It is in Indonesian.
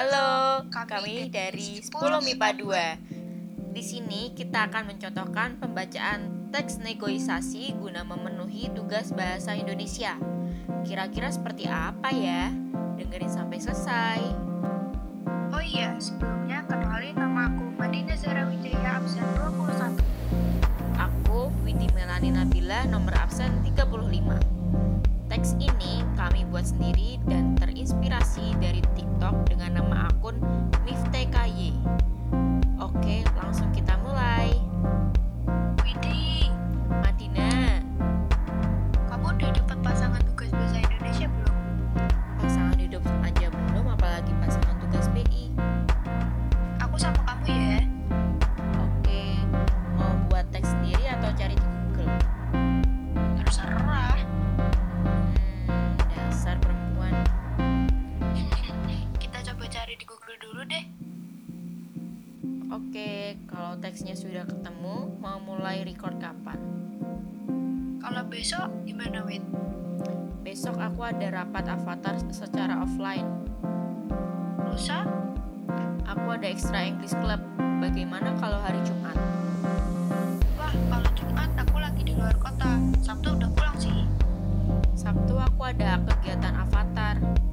Halo, kami dari 10 MIPA 2. Di sini kita akan mencontohkan pembacaan teks negosiasi guna memenuhi tugas bahasa Indonesia. Kira-kira seperti apa ya? Dengerin sampai selesai. Oh iya, sebelumnya kenalin nama aku Madina Zara Wijaya absen 21. Aku Widi Melani Nabila nomor absen 35. Teks ini kami buat sendiri dan terinspirasi dari TikTok dengan nama akun MifTKY. Oke, langsung kita mulai. Widi, Madina, kamu udah dapat pasangan tugas bahasa Indonesia belum? pasangan hidup aja belum apalagi pasangan tugas BI. Aku sama kamu ya. Oke, mau buat teks sendiri atau cari di Google? Terserah. Hmm, dasar perempuan. Kita coba cari di Google dulu deh. Oke, kalau teksnya sudah ketemu, mau mulai record kapan? Kalau besok gimana, Wid? Besok aku ada rapat avatar secara offline. Lusa? Aku ada extra English club. Bagaimana kalau hari Jumat? Wah, kalau Jumat aku lagi di luar kota. Sabtu udah pulang sih. Sabtu aku ada kegiatan avatar. kan ya. Nah,